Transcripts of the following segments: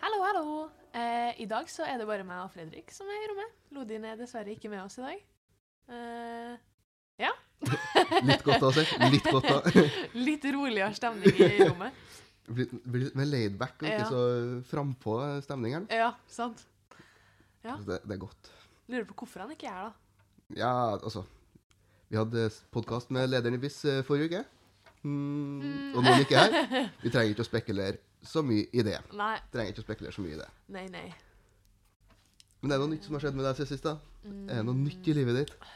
Hallo, hallo! Eh, I dag så er det bare meg og Fredrik som er i rommet. Lodin er dessverre ikke med oss i dag. Eh, ja. Litt godt av seg. Litt godt av Litt roligere stemning i rommet. Blir blir litt mer laidback og Ja. ikke så frampå stemningen. Altså, Ja, sant. Ja. Det, det er godt. Lurer på hvorfor han ikke er her, da. Ja, altså Vi hadde podkast med lederen i BIS eh, forrige uke. Mm, og noen ikke er her. Vi trenger ikke å spekulere så mye i det. Nei, Trenger ikke å spekulere så mye i det. nei, nei. Men det er noe nytt som har skjedd med deg siden sist. da. Er det noe nytt i livet ditt? Mm,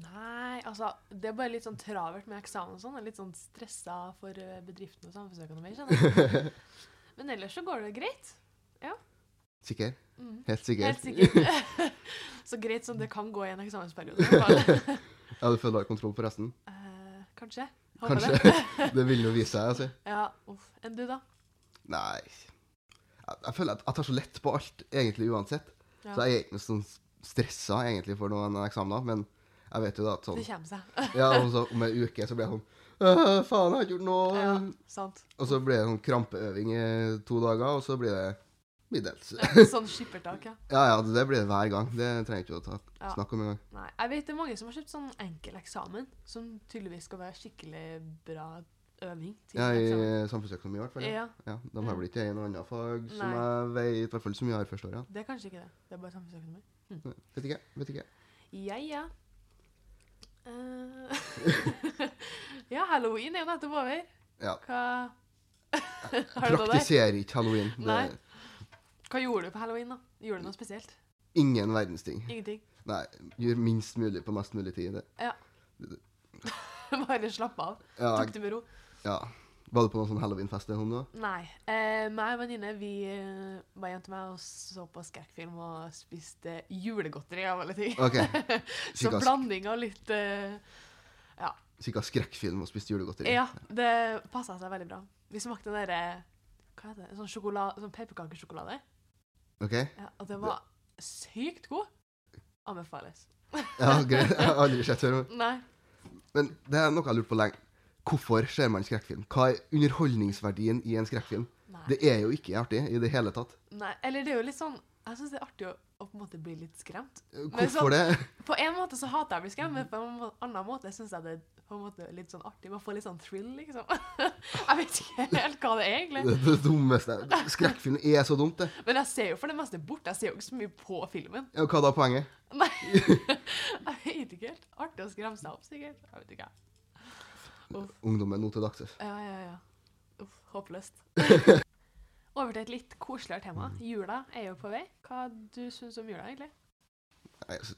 Nei, altså Det er bare litt sånn travelt med eksamen og sånn. Jeg er litt sånn stressa for eh, bedriften og samfunnsøkonomi, kjenner jeg. Men ellers så går det greit. Sikker? Mm. Helt sikker? Helt sikkert. så greit som det kan gå i en eksamensperiode. i hvert fall. Ja, du føler du har kontroll på resten? Eh, kanskje. Håper det. Kanskje. Det vil jo vise seg, altså. Ja, uff. Enn du, da? Nei Jeg, jeg føler at jeg tar så lett på alt, egentlig, uansett. Ja. Så jeg er ikke noe sånn stressa egentlig for noen eksamener, men jeg vet jo da at sånn Det kommer seg. ja, og så Om ei uke så blir jeg sånn «Åh, Faen, jeg har ikke gjort noe! Ja, sant. Og så blir det sånn krampeøving i to dager, og så blir det middels. Ja, Sånn skippertak, ja. Ja ja, det blir det hver gang. Det trenger ikke å ta, Ja. snakke om engang. Nei, jeg vet det er mange som har kjøpt sånn enkel eksamen, som tydeligvis skal være skikkelig bra øving. til Ja, eksamen. I samfunnsøkonomi, i hvert fall. Ja. ja, Ja, de har vel ikke i noe annet fag som jeg Nei. vet i hvert fall så mye har første året. det er kanskje ikke det. Det er bare samfunnsøkonomi. Ja. Vet ikke. vet ikke. Ja, ja. Eh, ja, halloween er jo nettopp over. Ja. Hva Har du noe der? Praktiserer ikke halloween. Det Nei. er Hva gjorde du på halloween, da? Gjorde du noe spesielt? ingen verdens ting. Ingenting? Nei, gjør minst mulig på mest mulig tid. Det. Bare slapp av? Ja, Tok det med ro? ja. Var du på noen sånn halloweenfest eller noe? Nei. Eh, meg og venninne vi eh, var hjem til meg og så på skrekkfilm og spiste julegodteri av alle ting. OK. så skikkelig- blanding av litt eh, Kikka skrekkfilm og spiste julegodteri. Ja, det passa seg veldig bra. Vi smakte den derre Hva heter det? Sånn, sjokola- sånn pepperkakesjokolade. OK? Ja, og den var sykt god. Anbefales. Ja, greit. Jeg har aldri sett før. Nei. Men det er noe jeg har lurt på lenge. Hvorfor ser man skrekkfilm? Hva er underholdningsverdien i en skrekkfilm? Nei. Det er jo ikke artig i det hele tatt. Nei. Eller det er jo litt sånn Jeg syns det er artig å, å på en måte bli litt skremt. Hvorfor det? På en måte så hater jeg å bli skremt, men på en må- annen måte syns jeg det er på en måte litt sånn artig. Man får litt sånn thrill, liksom. Jeg vet ikke helt hva det er, egentlig. Det, det dummeste Skrekkfilm er så dumt, det. Men jeg ser jo for det meste bort. Jeg ser jo ikke så mye på filmen. Ja, Hva da er poenget? Nei, jeg vet ikke helt. Artig å skremme seg opp, sikkert. Jeg vet ikke. Ungdommen nå til dags. altså. Ja, ja, ja. Uff, håpløst. Over til et litt koseligere tema. Jula er jo på vei. Hva du syns om jula, egentlig? Nei, altså,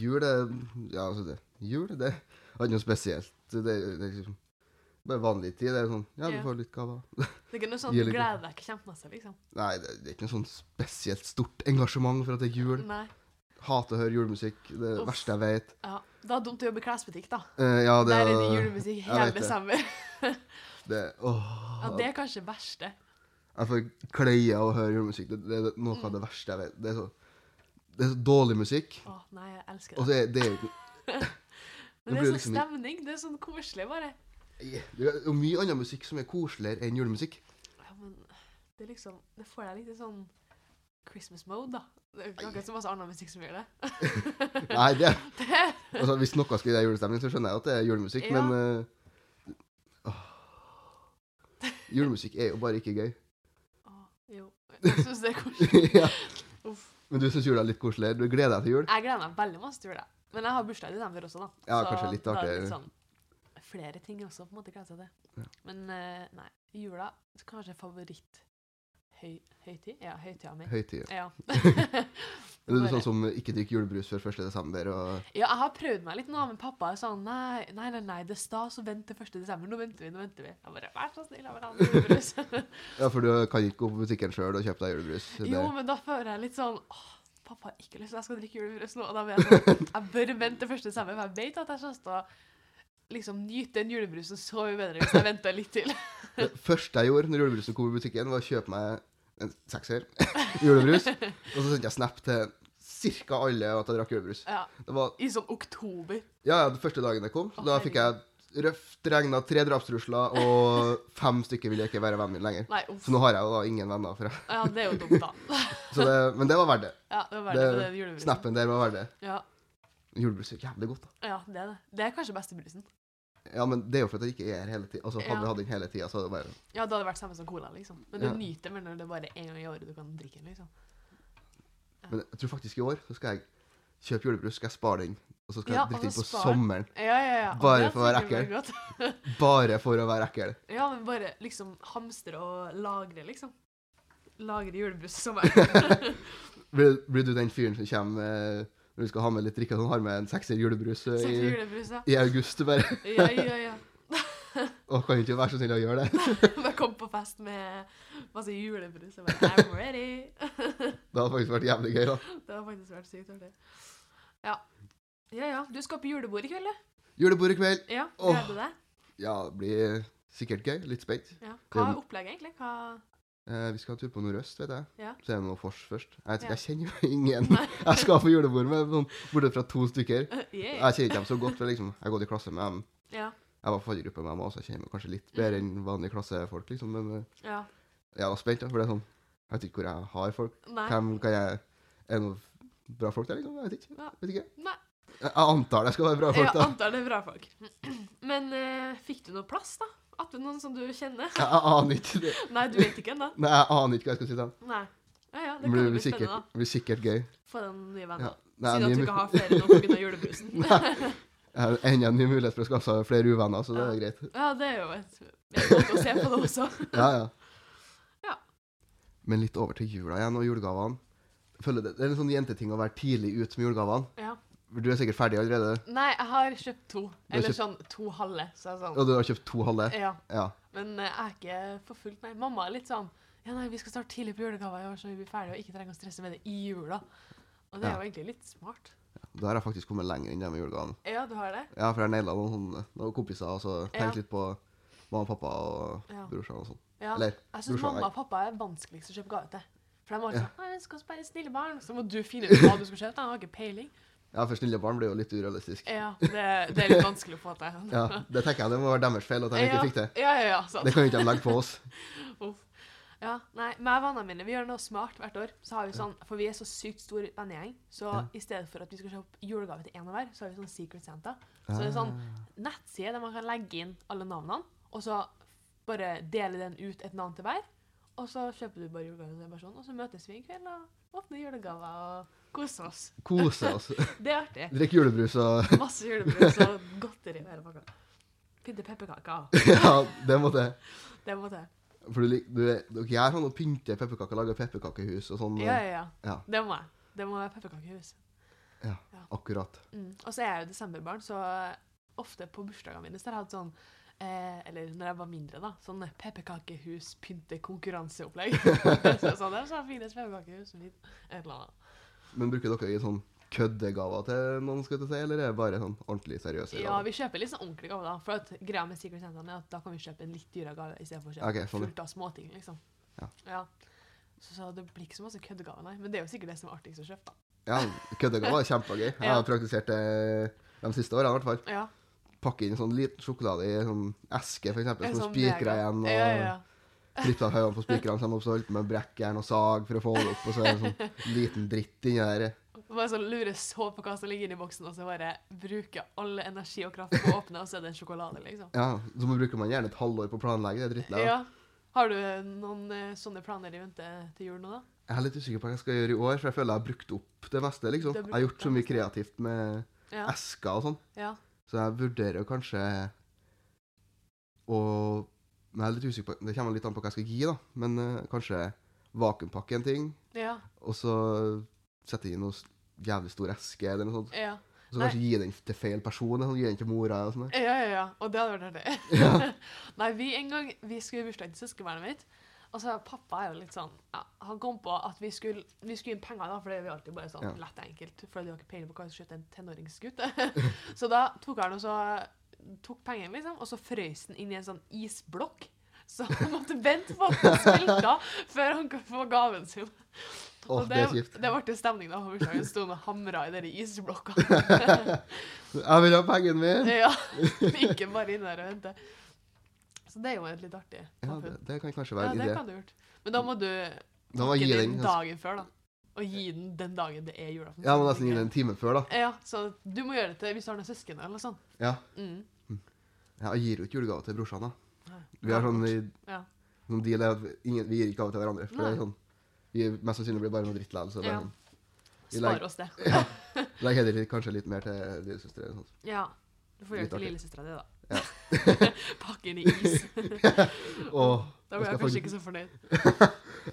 jul er Ja, altså det Jul, det er ikke noe spesielt. Det, det, det er liksom bare vanlig tid. Det er sånn Ja, du Ja. får litt gaver. Det er ikke noe sånn Gir du litt- gleder deg ikke kjempemasse, liksom. Nei, det, det er ikke noe sånn spesielt stort engasjement for at det er jul. Nei. Hater å høre julemusikk. Det er det Uff. verste jeg vet. Ja. Det er dumt å jobbe i klesbutikk, da. Eh, ja, det Der er det julemusikk hele vet det. desember. Det, åh, Ja, det er kanskje det verste. jeg får kleie av å høre julemusikk. Det, det, er noe av Mm. det verste jeg vet. Det er så, det er så dårlig musikk. Å, nei, jeg elsker Og det. så er det er jo ikke- Men det blir er sånn liksom- stemning. Det er sånn koselig, bare. Det er jo mye annen musikk som er koseligere enn julemusikk. Ja, men det er liksom Det får deg litt i sånn Christmas mode, da. Det er jo ikke akkurat så masse annen musikk som gjør det. Nei, det altså, Hvis noe skal gi deg julestemning, så skjønner jeg at det er julemusikk, Ja. men eh, åh. Julemusikk er jo bare ikke gøy. Å, jo. Jeg syns det er koselig. ja. Uff. Men du syns jula er litt koseligere. Du gleder deg til jul. Jeg gleder meg veldig masse til jul, jeg. Men jeg har bursdag i desember også, da. Ja, kanskje litt da er det artigere. sånn, flere ting også på en måte gleder seg Ja. til. Men eh, nei. Jula kanskje favoritt høy, høytid? Ja, høytida mi. Høytid. Ja. Eller du Bare- er sånn som ikke drikker julebrus før 1. desember og Ja, jeg har prøvd meg litt nå, men pappa er sånn Nei, nei, nei, nei det er stas å vente til 1. desember. Nå venter vi, nå venter vi. Jeg bare Vær så snill, jeg vil ha en julebrus. Ja, for du kan ikke gå på butikken sjøl og kjøpe deg julebrus. Det- jo, men da føler jeg litt sånn Åh, pappa har ikke lyst til at jeg skal drikke julebrus nå. Og da blir jeg sånn Jeg bør vente til 1. desember, for jeg vet at jeg kommer til å liksom nyte den julebrusen så mye bedre hvis jeg venter litt til. Det første jeg gjorde når julebrusen kom i butikken, var å kjøpe meg en sekser julebrus. Og så sendte jeg snap til ca. alle at jeg drakk julebrus. Ja, Det var I sånn oktober. Ja, ja, den første dagen jeg kom. Så Å, da fikk jeg røft regna tre drapstrusler, og fem stykker ville ikke være vennen min lenger. Nei, uff. Så nå har jeg jo da ingen venner. Fra. Ja, det er jo dumt, da. Så det, men det var verdt det. Ja, det var Det- verdt det. det er julebrusen. Snappen der var verdt det. Ja, Julebrus er jævlig godt, da. ja, det er det. Det er kanskje beste brusen. Ja, men det er jo fordi jeg ikke er her hele tida. Altså, hadde jeg Ja. hatt den hele tida, så hadde det bare Ja, det hadde vært samme som cola, liksom. Men du Ja. nyter mer når det er bare en gang i året du kan drikke den, liksom. Men jeg tror faktisk i år så skal jeg kjøpe julebrus, skal jeg spare den, og så skal Ja, jeg drikke og så den på spar- sommeren. Ja, ja, ja. Og Bare det er for å være sikkert veldig godt. Bare for å være ekkel. Ja, men bare liksom hamstre og lagre, liksom. Lagre julebrus i Sånn sommeren. Blir, blir du den fyren som kommer eh, når du skal ha med litt drikke, som har med en sekser julebrus eh, Sånn i, julebrus, ja. i august? bare? Ja, ja, ja. Å, kan du ikke være så snill å gjøre det? Bare kom på fest med masse julebrus og bare I'm ready. Det hadde faktisk vært jævlig gøy, da. Det har faktisk vært sykt artig. Ja. Ja, ja. Du skal på julebord i kveld, du. Julebord i kveld. Ja, Åh. gleder du deg? Ja, det blir sikkert gøy. Litt spent. Ja. Hva Det- er opplegget, egentlig? Hva... Eh, vi skal ha tur på Nordøst, vet jeg. Ja. Så er det noe vors først. Jeg vet Ja. ikke, jeg kjenner jo ingen Nei. jeg skal på julebord med, sånn, bortsett fra to stykker. Yeah. Jeg kjenner ikke dem så godt, for liksom, jeg har gått i klasse med dem. Ja. Jeg var på faddergruppe med dem også, så jeg kjenner meg kanskje litt bedre Mm. enn vanlige klassefolk, liksom. Men eh, ja. jeg var spent, da, for det er sånn Jeg vet ikke hvor jeg har folk. Nei. Hvem kan jeg Er det noen bra folk der, liksom? Jeg vet ikke. Ja. Vet ikke. Nei. Jeg jeg antar det skal være bra Jeg folk, da. antar det er bra folk. Men eh, fikk du noe plass, da? Attmed noen som du kjenner? Jeg, jeg aner ikke det. Nei, du vet ikke ennå. Nei, jeg aner ikke hva jeg skal si til dem. Nei. Ja, ja, det kan Det jo blir bli spennende. sikkert, blir sikkert gøy. da. Få deg noen nye Ja. venner. Nei, Siden at ny du mu- ikke har flere nå pga. julebrusen. Jeg har Enda en ny mulighet for å skaffe seg flere uvenner, så det er greit. Ja, det er jo et en måte å se på det også. Ja, ja. Ja. Men litt over til jula igjen og julegavene. Føler det, det er en sånn jenteting å være tidlig ut med julegavene. Ja. Du er sikkert ferdig allerede, Nei, jeg har kjøpt to. Du har Eller kjøpt- sånn to halve. Så jeg er sånn. og du har kjøpt to halve. Ja. Ja. Men eh, jeg er ikke for fullt, nei. Mamma er litt sånn Ja, nei, vi skal starte tidlig på julegaver i år, så vi blir ferdige og ikke trenger å stresse med det i jula. Og det er Ja. jo egentlig litt smart. Da har jeg faktisk kommet lenger enn det med julegavene. Ja, du har det? Ja, for jeg naila noen, sånne- noen kompiser og så Ja. tenkte litt på mamma og pappa og Ja. brorsan og sånn. Ja. Eller jeg syns brorsan, mamma nei. og pappa er vanskeligst å kjøpe gave til. For de er alltid Ja. sånn Nei, vi skal oss være snille barn. Så må du finne ut hva du skal kjøpe. De har ikke peiling. Ja, for snille barn blir jo litt urealistisk. Ja, det, det er litt vanskelig å få til. Ja, Det tenker jeg det må være deres feil at de ikke ja. fikk det. Ja, ja, ja, sant. Det kan jo ikke de legge på oss. Uff. Ja, nei, meg og vennene mine vi gjør noe smart hvert år. Så har vi sånn, For vi er så sykt stor vennegjeng, så Ja. i stedet for at vi skal kjøpe julegave til én av hver, så har vi sånn Secret Santa. Så det er sånn Ah. nettside der man kan legge inn alle navnene, og så bare dele den ut et navn til hver. Og så kjøper du bare julegave til den personen, og så møtes vi en kveld og åpner julegaver og koser oss. Kose oss. Det er artig. Drikk julebrus og Masse julebrus og godteri i hele pakka. Pynte pepperkaker. Ja, det måtte jeg. Det må til. For du, lik- du, dere gjør sånn å pynte pepperkaker, lage pepperkakehus og sånn. Ja, ja, ja. Ja. Det må jeg. Det må være pepperkakehus. Akkurat. Mm. Og så er jeg jo desemberbarn, så ofte på bursdagene mine så har jeg hatt sånn eh, Eller når jeg var mindre, da. Sånn pepperkakehus-pynte-konkurranseopplegg. så sånn, det er så finest pepperkakehus som mitt. Et eller annet. Men bruker dere å gi sånn køddegaver til noen, skal jeg til å si, eller er det bare sånn ordentlig seriøse Ja, gaver? vi kjøper litt sånn ordentlige gaver, da. For at greia med Secret Santa er at da kan vi kjøpe en litt dyrere gave istedenfor å kjøpe Ok, sånn, ja. fullt av småting, liksom. Ja. Så, så det blir ikke så masse køddegaver, nei. Men det er jo sikkert det som er artigst å kjøpe, da. Ja, køddegaver er kjempegøy. Jeg Ja. har praktisert det de siste årene i hvert fall. Ja, Pakke inn sånn liten sjokolade i en sånn eske, for eksempel, en som sånn spikrer mega- igjen, og ja, ja, ja. klippe av høyene på spikrene, så de også holdt med brekkjern og sag for å få det opp, og så er det en sånn liten dritt inni der. Bare sånn lurer så på hva som ligger inni boksen, og så bare bruker alle energi og kraft på å åpne, og så er det en sjokolade, liksom. Ja, så bruker man gjerne et halvår på å planlegge det drittet. da. Ja. Har du noen eh, sånne planer i vente til jul nå, da? Jeg er litt usikker på hva jeg skal gjøre i år, for jeg føler jeg har brukt opp det meste. liksom. Du har Jeg brukt har opp gjort så det mye meste. kreativt med Ja. esker og sånn, ja. så jeg vurderer jo kanskje å Men jeg er litt usikker på Det kommer litt an på hva jeg skal gi, da. Men eh, kanskje vakuumpakke en ting, Ja. og så sette inn noe s- jævlig stor eske eller noe sånt. Ja. Og så kanskje gi den til feil person. eller Sånn, gi den til mora og sånn. der. Ja, ja, ja. Og det hadde vært artig. Nei, vi en gang vi skulle i bursdagen til søskenbarnet mitt. Og så pappa er jo litt sånn ja, Han kom på at vi skulle, vi skulle inn penger, da, for det er jo alltid bare sånn Ja. lett og enkelt. For du har ikke peiling på hva som skjøt en tenåringsgutt. så da tok han og så tok pengene, liksom, og så frøs den inn i en sånn isblokk. Så han måtte vente på at han smelta før han kunne få gaven sin. Åh, Og det er kjipt. det ble stemning da på bursdagen. Sto han og hamra i den isblokka. Jeg vil ha pengen min! Ja, Ikke bare inn der og vente. Så det er jo et litt artig Ja, det, samfunn. det kan kanskje Ja, være en det idé. kan du gjort. Men da må du Da må jeg ikke gi den ganske- dagen før, da. Og gi den den dagen det er julaften. Ja, må nesten gi den en time før, da. Ja, så du må gjøre det til hvis du har noen søsken eller noe sånt. Ja. Mm. Ja, Jeg gir jo ikke julegave til brorsan, da. Nei. Vi har sånn, i- Ja. sånn deal er at ingen, vi gir ikke gave til hverandre. For det er Nei. sånn, vi mest sannsynlig blir bare noe dritt likevel. Så det er Ja. sånn, vi Spar legger- oss det. legger heller litt- kanskje litt mer til lillesøstre. eller sånt. Ja. Du får gjøre det Litt til artig. lillesøstera di, da. Pakke inn i is. Åh, Da blir skal jeg faktisk- kanskje ikke så fornøyd.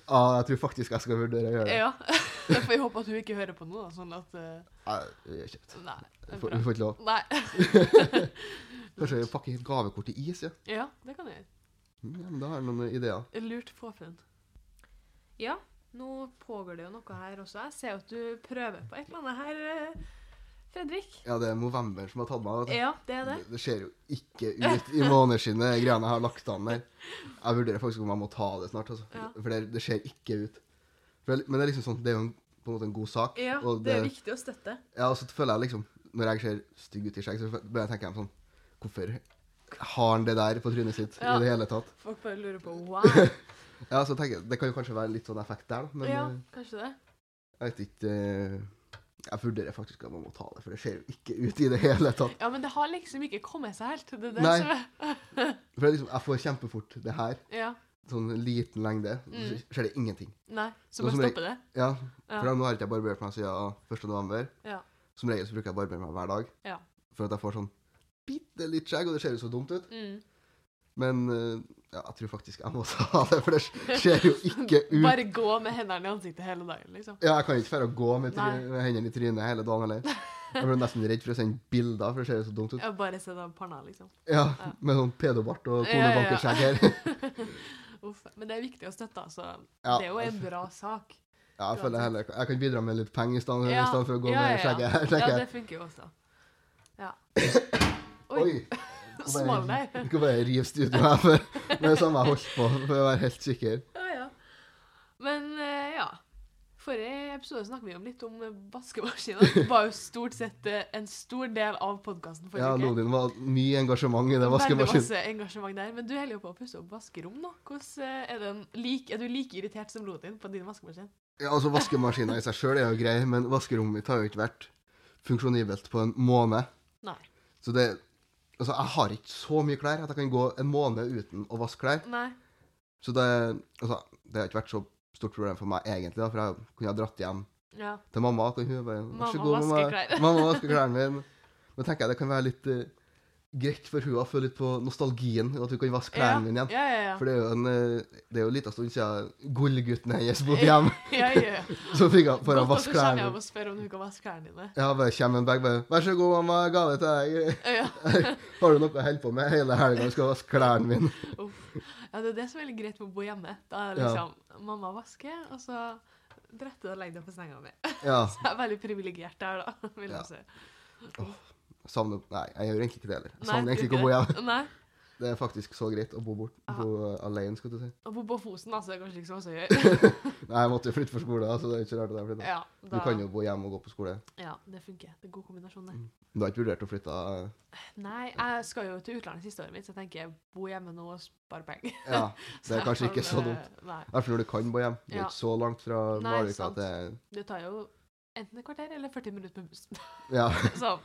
ah, jeg tror faktisk jeg skal vurdere å gjøre det. Ja. Da får vi håpe at hun ikke hører på nå, da. Sånn at eh, Nei, det er kjipt. Nei. Det Vi er får bra. vi får ikke lov. Nei. Kanskje vi pakker et gavekort i is, ja. Ja, det kan jeg gjøre. Mm, ja men da har jeg noen ideer. Lurt påfunn. Ja, nå pågår det jo noe her også. Jeg ser jo at du prøver på et eller annet her, eh, Fredrik. Ja, det er Movember som har tatt meg. vet du. Ja, det er det. Det, det ser jo ikke ut i måneskinnet, de greiene jeg har lagt an der. Jeg vurderer faktisk om jeg må ta det snart, altså. Ja. For det, det ser ikke ut. For det, men det er liksom sånn, det er jo en, på en måte en god sak. Ja, og det er viktig å støtte. Ja, og så føler jeg liksom, når jeg ser stygg ut i skjegg, så begynner jeg å tenke meg sånn, hvorfor har han det der på trynet sitt Ja. i det hele tatt? Folk bare lurer på wow. Ja, så tenker jeg, det kan jo kanskje være litt sånn effekt der, da, men ja, eh, kanskje det. jeg vet ikke... eh, Jeg vurderer faktisk at man må ta det, for det ser jo ikke ut i det hele tatt. Ja, men det har liksom ikke kommet seg helt. Det er det Nei. som er For det er liksom, jeg får kjempefort det her, Ja. sånn liten lengde, så Mm. skjer det ingenting. Nei, så Nå bare som jeg- stoppe det. Ja, Ja. for da, nå har ikke jeg barbert meg siden 1. november. Ja. Som regel så bruker jeg å barbere meg hver dag. Ja. For at jeg får sånn bitte litt skjegg, og det ser jo så dumt ut. Mm. Men eh, ja, jeg tror faktisk jeg må ta det, for det ser jo ikke ut. Bare gå med hendene i ansiktet hele dagen, liksom. Ja, jeg kan ikke fære å gå med, try- Nei. med hendene i trynet hele dagen heller. Jeg blir nesten redd for å sende bilder, for det ser jo så dumt ut. Ja, bare se den panna, liksom. Ja, Ja. Med sånn pedobart Ja, og ja, ja. konebankerskjegg her. Uff. Men det er viktig å støtte, altså. Ja, Det er jo en bra sak. ja, jeg føler heller jeg kan bidra med litt penger i stedet i Ja, stedet for å gå ja, med ja, ja. skjegget her. tenker Ja, jeg. det funker jo også. Ja. Oi, Oi! small der. Jeg skal bare rive studioet her for med det samme jeg holdt på, for å være helt sikker. Ja, ja. Men eh, ja. Forrige episode snakket vi om litt om eh, vaskemaskiner. Det var jo stort sett eh, en stor del av podkasten forrige Ja, uke. Lodin var mye engasjement i det Veldig vaskemaskinen. masse engasjement der. Men du holder jo på å pusse opp vaskerom nå. Hvordan eh, er, den lik, er du like irritert som Lodin på din vaskemaskin? Ja, altså Vaskemaskinen i seg sjøl er jo grei, men vaskerommet mitt har jo ikke vært funksjonibelt på en måned. Nei. Så det Altså, jeg har ikke så mye klær at jeg kan gå en måned uten å vaske klær. Nei. Så det Altså, det har ikke vært så stort problem for meg egentlig, da, for jeg kunne ha dratt hjem Ja. til mamma. og hun bare, Mamma Vær så god, mamma. vasker klær. mamma vasker klærne mine. Men tenker jeg det kan være litt eh, greit for hun å føle litt på nostalgien, og at hun kan vaske klærne mine igjen. Ja, ja, ja. For det er jo en eh, Det er jo en liten stund siden gullgutten hennes bodde hjemme. ja, ja, ja. Så fikk han for Godt å at vaske du kjenner klærne. av å spørre om du kan vaske klærne dine. Ja, bare kommer en bag bare 'Vær så god, mamma, gave til deg'. Ja. Har du noe å holde på med hele helga? Skal vaske klærne mine. Uff. Ja, det er det som er litt greit med å bo hjemme. Da er det Ja. liksom mamma vasker, og så bretter du og legger deg på senga mi. Ja. Så jeg er veldig privilegert der, da. vil jeg Altså. Ja. si. Savner Nei, jeg gjør egentlig ikke det heller. Jeg Nei, Savner egentlig tror ikke å bo hjemme. Nei. Det er faktisk så greit å bo bort. Bo eh, alene, skal du si. Å bo på Fosen, altså, det er kanskje ikke så masse å gjøre. Nei, jeg måtte jo flytte for skole, da, så det er ikke så rart at jeg flytta. Ja, Du da, kan jo bo hjemme og gå på skole. ja, det funker. Det er god kombinasjon, det. Men Du har ikke vurdert å flytte eh, Nei, jeg skal jo til utlandet siste året mitt, så jeg tenker bo hjemme nå og spare penger. Ja, det Så er kanskje jeg ikke kan, så dumt. eh, Nei. I hvert fall når du kan bo hjemme. Det er Ja. ikke så langt fra Nei, Malvika sant. til Det tar jo enten et kvarter eller 40 minutter med buss. Ja. Så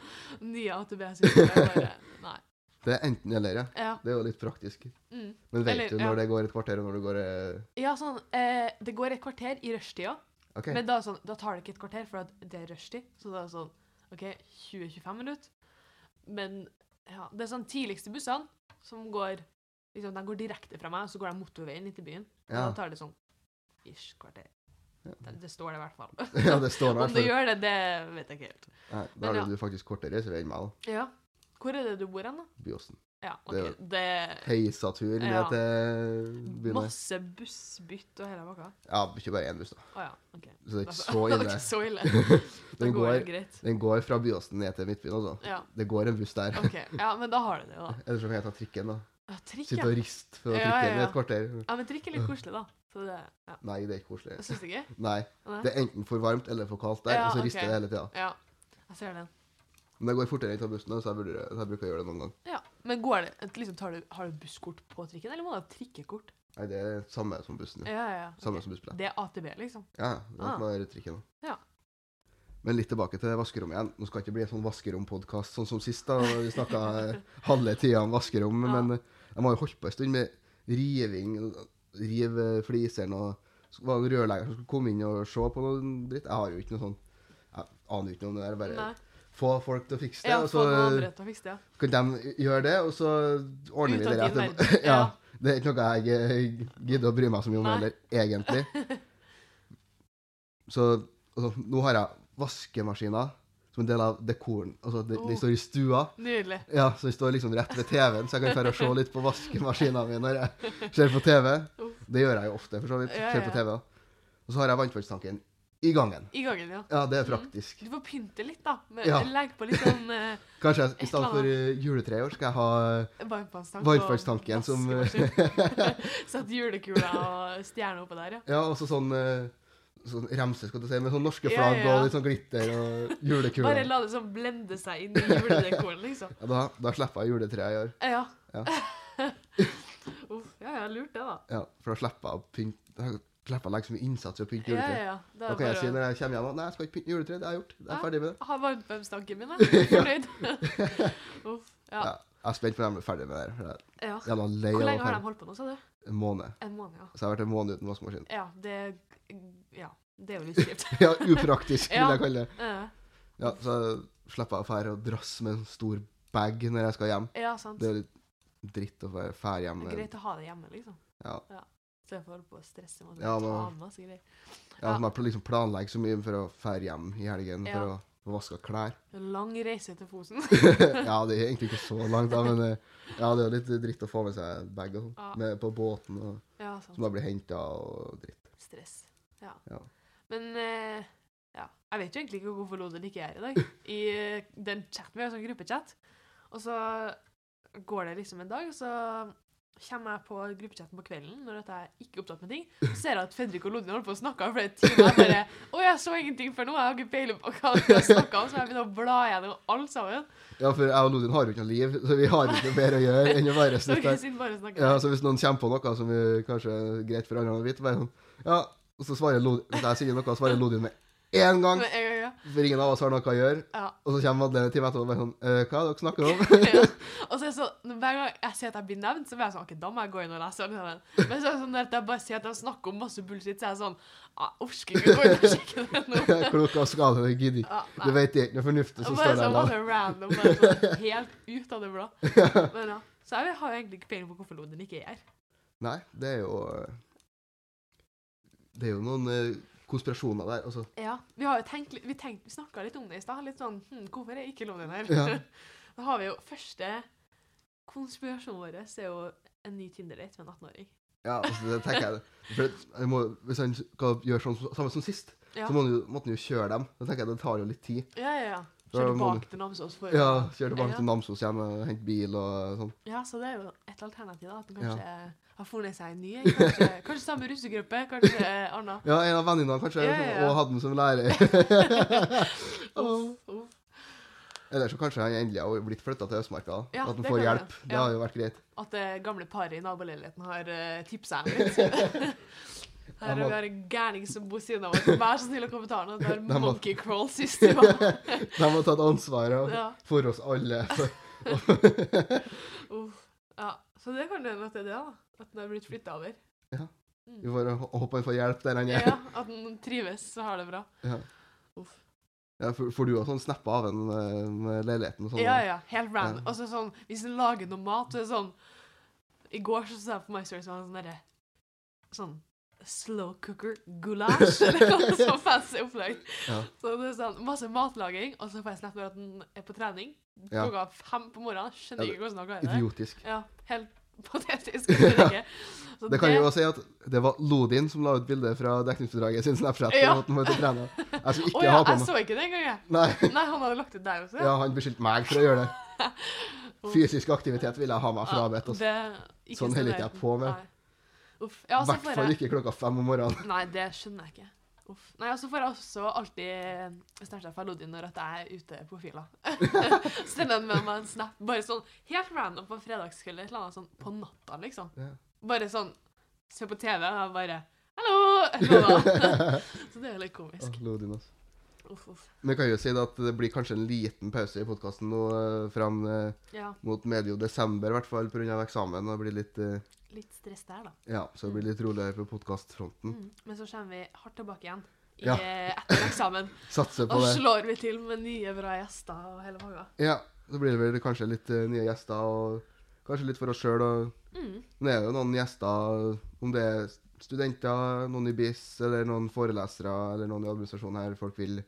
nye AtB-systemer bare Nei. Det er enten eller, ja. Ja. Det er jo litt praktisk. Mm. Men vet Eller, du når ja. det går et kvarter, og når det går eh, Ja, sånn, eh, det går et kvarter i rushtida, OK. men da, er sånn, da tar det ikke et kvarter, for at det er rushtid. Så da er det sånn OK, 20-25 minutter. Men ja, det er sånn tidligste bussene som går liksom, De går direkte fra meg, og så går de motorveien inn til byen. Og ja. Da tar det sånn ish kvarter. Det, det står det i hvert fall. ja, det står nå i Om hvert det fall. gjør det, det vet jeg ikke helt. Nei, Men Da ja. har du faktisk kortere reisevei enn meg, da. Ja. Hvor er det du bor hen, da? Byåsen. Ja, Det- OK. Det er Heisatur ned Ja. til byen. her. masse bussbytt og hele pakka. Ja, ikke bare én buss, da. Å ja. OK. Så det er ikke Derfor- så Altså, det er ille. ikke så ille. Da Den går det går, greit. den går fra Byåsen ned til Midtbyen, altså. Ja. Det går en buss der. Ok, ja, men da har du det jo da. Eller så kan jeg ta trikken, da. Ja, trikk, Sitte ja. og riste for Ja, å trykke ja, ned ja. et kvarter. ja. Men trikk er litt koselig, da. Så det, ja. Nei, det er ikke koselig. Syns du ikke? Nei, Nei. Det er enten for varmt eller for kaldt der, Ja, og så ok. rister det hele tida. Ja, jeg ser den. Men det går fortere enn å ta bussen, så jeg, burde, så jeg bruker å gjøre det noen gang. Ja, Men går det, liksom, tar du, har du busskort på trikken, eller må du ha trikkekort? Nei, det er samme som bussen. Ja, Ja. ja, ja. Samme Ok. som bussbillett. Det er ATB, liksom. Ja, ja, det er Ah. som er trikken. da. Ja. Men litt tilbake til vaskerommet igjen. Nå skal det ikke bli en sånn vaskerompodkast sånn som sist. da, Vi snakka halve tida om vaskerom, Ja. men eh, de har jo holdt på en stund med riving. Rive fliseren og så var det en rørlegger som skulle komme inn og se på noe dritt. Jeg har jo ikke noe sånn Jeg aner jo ikke noe om det der. Bare altså, Nei. få folk til å fikse det. Ja, og få noen så- andre til å fikse det. ja. Kan de gjøre det, og så ordner Ut vi av det din etterpå. verden. ja, Ja. det er ikke noe jeg eh, gidder å bry meg så mye om Nei. heller, egentlig. Så altså, nå har jeg vaskemaskiner som en del av dekoren. Altså, de, Oh. de står i stua. Nydelig. Ja, så de står liksom rett ved TV-en, så jeg kan fære og se litt på vaskemaskinene mine når jeg ser på TV. Uff. Det gjør jeg jo ofte, for så vidt. Ja, Ser på ja. TV, da. Og så har jeg vannfallstanken i gangen. I gangen, ja. Ja, det er Mm. praktisk. Du får pynte litt, da. Med, Ja. Legg på litt sånn eh, Kanskje jeg, i Et stedet eller for eh, juletre i år, skal jeg ha varmtvannstank. og Varmtvannstanken som- eh, vaskemaskin. Sett julekula og stjerna oppå der, ja. Ja, og så sånn, eh, sånn remse, skal du si, med sånn norske Ja, flagg ja. og litt sånn glitter og Bare julekuler. la det sånn blende seg inn i juledekoren, liksom. Ja, da, da slipper jeg juletreet i år. Eh, Ja. Ja. Uff, ja, ja, lurt det, da. Ja, for da slipper jeg å pynte da slipper jeg å legge så mye innsats i å pynte Ja, juletre. ja, ja. Da Da er kan det jeg si bare når jeg kommer hjem at nei, jeg skal ikke pynte juletre, det har jeg gjort. Jeg Ja. er ferdig med det. å ha varmtvannstanken min, jeg. Fornøyd. Uff. Ja. Ja. Jeg er spent på når jeg blir ferdig med det. her, for jeg ja. er Jævla lei Hvor av å lenge har være de holdt på nå, sa du? ferdig en måned. En måned, ja. Så jeg har vært en måned uten vaskemaskin. Ja, det Ja. Det er jo litt kjipt. Ja, upraktisk, vil Ja. jeg kalle det. Eh, Ja, så slipper jeg å fære og drasse med en stor bag når jeg skal hjem. Ja, sant. Det er jo litt dritt å fære- fære hjem. Det med- er greit å ha det hjemme, liksom. Ja. Så jeg får holde på å stresse med å ta Ja, men- med masse greier. Ja, som jeg pl- liksom planlegger så mye for å fære hjem i helgen Ja. for å få vaska klær. Lang reise til Fosen. ja, det er egentlig ikke så langt, da, men eh, ja, det er jo litt dritt å få med seg bag og sånn. Ja. Med- På båten, og, Ja, sant. som da blir henta og dritt. Stress. Ja. Ja. Men eh, ja. jeg vet jo egentlig ikke hvorfor Loden ikke er her i dag. I eh, den chatten vi har, sånn gruppechat, og så går det liksom en dag, og så kommer jeg på gruppechatten på kvelden når at jeg ikke er opptatt med ting, og ser jeg at Fredrik og Lodin holder på å snakke om flere timer. Jeg bare Å, jeg så ingenting før nå, jeg har ikke peiling på hva de har snakka om, så jeg begynner å bla gjennom alt sammen. Ja, for jeg og Lodin har jo ikke noe liv, så vi har ikke noe bedre å gjøre enn å være Så snitt vi der. sitter bare og snakker. Ja, så hvis noen kommer på noe som eh, kanskje er greit for andre å vite, bare sånn Ja, og så svarer Lodin Hvis jeg sier noe, svarer Lodin med én gang, Men, ja, ja, for ingen av oss har noe å gjøre. ja. Og så kommer Madeleine en time etterpå og bare sånn «Eh, Hva er det dere snakker om? ja. Og så er det sånn, Hver gang jeg ser at jeg blir nevnt, så blir jeg sånn OK, da må jeg gå inn og lese. Liksom. Men så er det sånn at jeg bare ser at de snakker om masse bullshit, så er jeg sånn Jeg orker ikke å gå inn og sjekke det nå. Klokka og skade, jeg gidder ikke. Ja, Du nei. vet det er ikke noe fornuftig som Bare står der. sånn da. masse random, bare sånn helt ut av det blå. Men ja. Så jeg har jo egentlig ikke peiling på hvorfor Lodin ikke er her. Nei, det er jo eh, Det er jo noen eh, konspirasjoner der. Altså, Ja, Vi har jo tenkt, litt- vi, tenkt, vi snakka litt om det i stad. Litt sånn hm, Hvorfor er ikke Lodin her? Ja. Da har vi jo første konspirasjonen vår er jo en ny Tinder-date med en 18-åring. ja, altså, det tenker jeg. For jeg må, hvis han skal gjøre sånn som- samme som sist, Ja. så må han jo, måtte han jo kjøre dem. Da tenker jeg det tar jo litt tid. Ja, ja, ja. Da Kjøre må tilbake til Namsos for Ja, Kjøre tilbake Ja. til Namsos igjen og hente bil og sånn. Ja, så det er jo et alternativ, da. At han kanskje eh, har funnet seg en ny. Kanskje, kanskje samme russegruppe, kanskje eh, anna. Ja, en av vennene hans kanskje, Ja, ja, ja. og hadde han som lærer. Uff, uff. Eller så kanskje han endelig har blitt flytta til Østmarka. Ja, at han det får kan hjelp. hende. Det Ja. har jo vært greit. At det gamle paret i naboleiligheten har uh, tipsa henne litt. Her har må- vi har en gærning som bor siden av oss. Vær så snill å kommentere noe. Det er De må- monkey crawl sist i var. De har tatt ansvaret Ja, for oss alle. uff. Ja, så det kan hende at det er det, da. At den har blitt flytta over. Mm. Vi får håpe han får hjelp der han er. Ja, At den trives og har det bra. Ja. Uff. Ja, for, for du har sånn snappa av en eh, med leiligheten og sånn? Ja, ja. Helt random. Ja. Og så sånn, hvis du lager noe mat, så er det sånn I går så sa jeg på My Story så var det sånn derre Sånn slow cooker gulasj, eller noe sånt fancy opplegg. Ja. Så det er sånn masse matlaging, og så får jeg snap når at den er på trening Ja. klokka fem på morgenen. Skjønner Ja, ikke hvordan han klarer det. Idiotisk. Ja, helt patetisk. skjønner jeg ikke. Så Det kan jo også si at det var Lodin som la ut bilde fra dekningsbidraget sin Snapchat. Ja. og at han var ute og trene. Jeg skulle ikke Å ja, ha på jeg meg så ikke det engang, jeg. Nei, Nei, han hadde lagt ut der også. ja, Han beskyldte meg for å gjøre det. Fysisk aktivitet vil jeg ha meg frabedt. altså. det- Sånn holder ikke jeg stemmer. på med. Nei. Uff. Ja, I så hvert får fall jeg ikke klokka fem om morgenen. Nei, det skjønner jeg ikke. Uff. Nei, og så får jeg også alltid Snapchat fra Lodin når at jeg er ute på fila. Sender han med meg en snap, bare sånn helt random på fredagskvelden, et eller annet sånn på natta, liksom. Ja. Bare sånn Se på TV, og jeg bare Hallo! så det er jo litt komisk. Åh, Lodin, altså. Uff, uff. Men jeg kan jo si da at det blir kanskje en liten pause i podkasten nå eh, fram eh, Ja, mot medio desember, i hvert fall pga. eksamen. Og det blir litt, eh, litt stress der, da. ja, så det blir litt roligere på podkastfronten. Mm. Men så kommer vi hardt tilbake igjen i, eh, Ja. etter eksamen. Satser på Og det. slår vi til med nye, bra gjester og hele pakka. Ja, så blir det vel kanskje litt eh, nye gjester, og kanskje litt for oss sjøl. Mm. Men det er jo noen gjester, om det er studenter, noen i BIS, eller noen forelesere, eller noen i administrasjonen her folk vil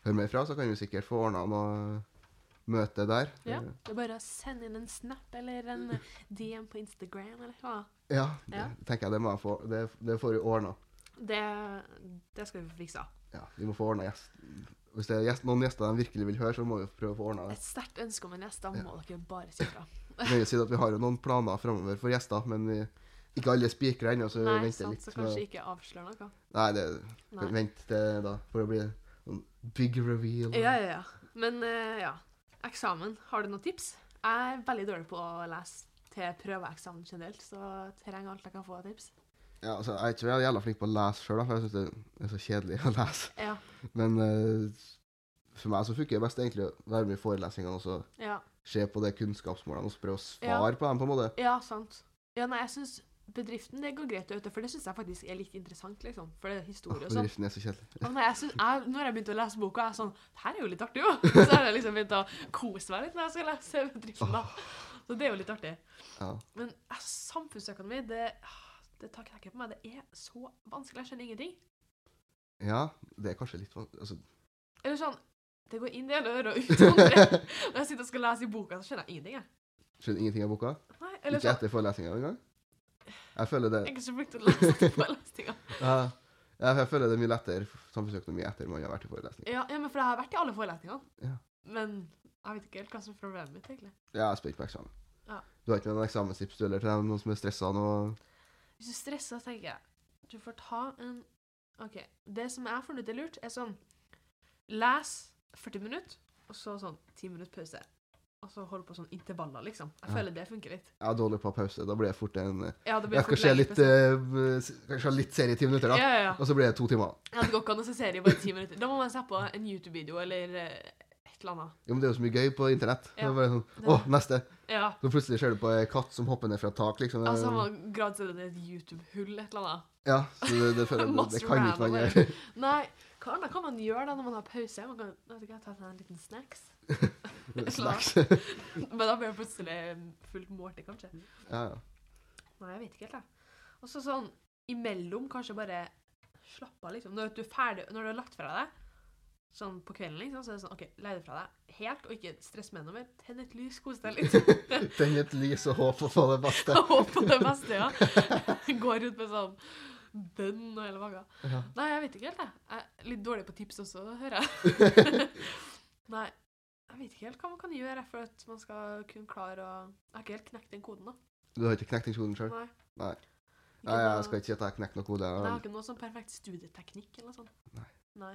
høre mer fra, så kan vi sikkert få ordna noe møte der. Ja. Mm. Det er bare å sende inn en snap eller en DM på Instagram eller hva. Ja, det Ja. tenker jeg det må jeg få. Det, det får vi ordna. Det, det skal vi få fiksa. Ja, vi må få ordna gjest... Hvis det er gjest, noen gjester de virkelig vil høre, så må vi prøve å få ordna det. Et sterkt ønske om en gjest, da må dere bare si fra. Men jeg vil si at Vi har jo noen planer framover for gjester, men vi, ikke alle er spikra ennå, så vi Nei, venter sant, litt. så med- kanskje ikke avslør noe. Nei, det, Nei. vent til da, for det blir en big reveal. Ja, ja, ja. Men eh, ja. Eksamen, har du noen tips? Jeg er veldig dårlig på å lese til prøveeksamen generelt, så trenger alt jeg kan få av tips. Ja, altså, jeg tror jeg er jævla flink på å lese sjøl, for jeg syns det er så kjedelig å lese. Ja, Men eh, for meg så funker det best egentlig å være med i forelesningene og så ja. se på de kunnskapsmålene og så prøve å Ja. svare på dem, på en måte. Ja, sant. Ja, nei, jeg synes bedriften det går greit å øte, for det synes jeg faktisk er litt interessant, liksom. For det er Åh, historie og sånn. Bedriften er så kjedelig. Og når jeg, synes, jeg, når jeg begynte å lese boka, jeg er sånn Det her er jo litt artig, jo! Så har jeg liksom begynt å kose meg litt når jeg skal lese bedriften, da. Så det er jo litt artig. Ja. Men eh, samfunnsøkonomi, det, det tar knekken på meg. Det er så vanskelig. Jeg skjønner ingenting. ja, det er kanskje litt vanskelig altså, Eller sånn Det går inn det ene øret og ut det andre. Når jeg sitter og skal lese i boka, så skjønner jeg ingenting, jeg. Skjønner ingenting av boka? Nei, eller Ikke sånn, etter forelesninga engang? Jeg føler det jeg er ikke så flink til å lese på lesninga. Ja, ja, for jeg føler det er mye lettere for samfunnsøkonomi etter man har vært i forelesning. Ja, ja, men for jeg har vært i alle forelesningene. Ja. Men jeg vet ikke helt hva som er problemet mitt, egentlig. Ja, jeg er spent på eksamen. Ja. Du har ikke med noen eksamenstips du heller til dem, noen som er stressa nå? Hvis du stresser, så tenker jeg Du får ta en OK. Det som jeg har funnet ut er lurt, er sånn Les 40 minutter, og så sånn 10 minutter pause. Og så holde på sånn intervaller, liksom. Jeg Ja. føler det funker litt. Jeg er dårlig på pause. Da blir det fort en eh, Ja, det blir Jeg skal fort se lenge litt, pause. eh, s- kanskje ha litt serie i ti minutter, da. sånn- Ja, ja, ja. Og så blir det to timer. Ja, det går ikke an å se serie i bare 10 minutter. Da må man se på en YouTube-video eller eh, et eller annet. Jo, men det er jo så mye gøy på internett. Det Ja. er bare sånn, Det- Å, neste! Ja. Så plutselig ser du på ei katt som hopper ned fra et tak, liksom. Altså, han var grad så er det et YouTube-hull, et eller annet. Ja, så det, det, føler jeg- det, Masse det kan ikke random, man bare. gjøre. Nei, hva annet kan man gjøre da når man har pause? Man kan vet ikke, ta seg en liten snacks. Snacks. Men da blir det plutselig eh, fullt måltid, kanskje. Ja, ja. Nei, jeg vet ikke helt, jeg. Og så sånn imellom kanskje bare slappe av, liksom. Når du, er ferdig, når du har lagt fra deg, sånn på kvelden, liksom, så er det sånn OK, legg det fra deg helt, og ikke stress med det noe mer. Tenn et lys, kos deg litt. Tenn et lys og håp og få det beste. Jeg håper det beste, ja. Går rundt med sånn bønn og hele pakka. Ja. Nei, jeg vet ikke helt, jeg. jeg er litt dårlig på tips også, hører jeg. Nei, jeg vet ikke helt hva man kan gjøre for at man skal kunne klare å Jeg har ikke helt knekt den koden, da. Du har ikke knekt den koden sjøl? Nei. Nei. Ikke Nei, noe- jeg skal ikke si at jeg har knekt noen kode. Nei, jeg har Jeg ikke noe sånn perfekt studieteknikk eller noe sånt. Nei. Nei.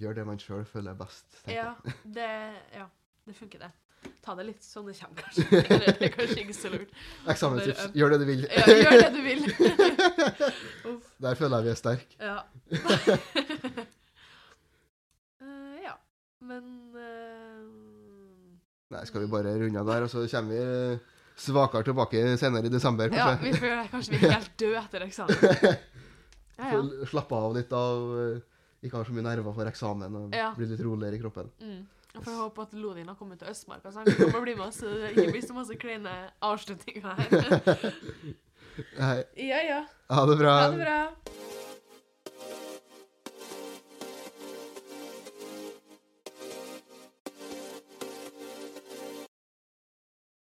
Gjør det man sjøl føler er best. tenker Ja, jeg. det Ja, det funker, det. Ta det litt sånn det kommer, kanskje. Eller det er kanskje ikke så lurt. Eksamenstips. Bare, Gjør det du vil. Ja, gjør det du vil. Uff. Der føler jeg vi er sterke. Ja. Eh, ja. Men eh, Nei, skal vi bare runde av der, og så kommer vi eh, svakere tilbake senere i desember, Ja, kanskje? vi får gjøre det. Kanskje vi er helt døde etter eksamen. Ja, ja. Få Slappe av litt av eh, Ikke ha så mye nerver for eksamen og Ja. bli litt roligere i kroppen. Mm. Jeg får håpe at Lodin har kommet til Østmarka, så han kommer og blir med oss. så Det ikke blir så masse kleine avslutninger her. Nei, Ja, ja. ha det bra. Ha det bra.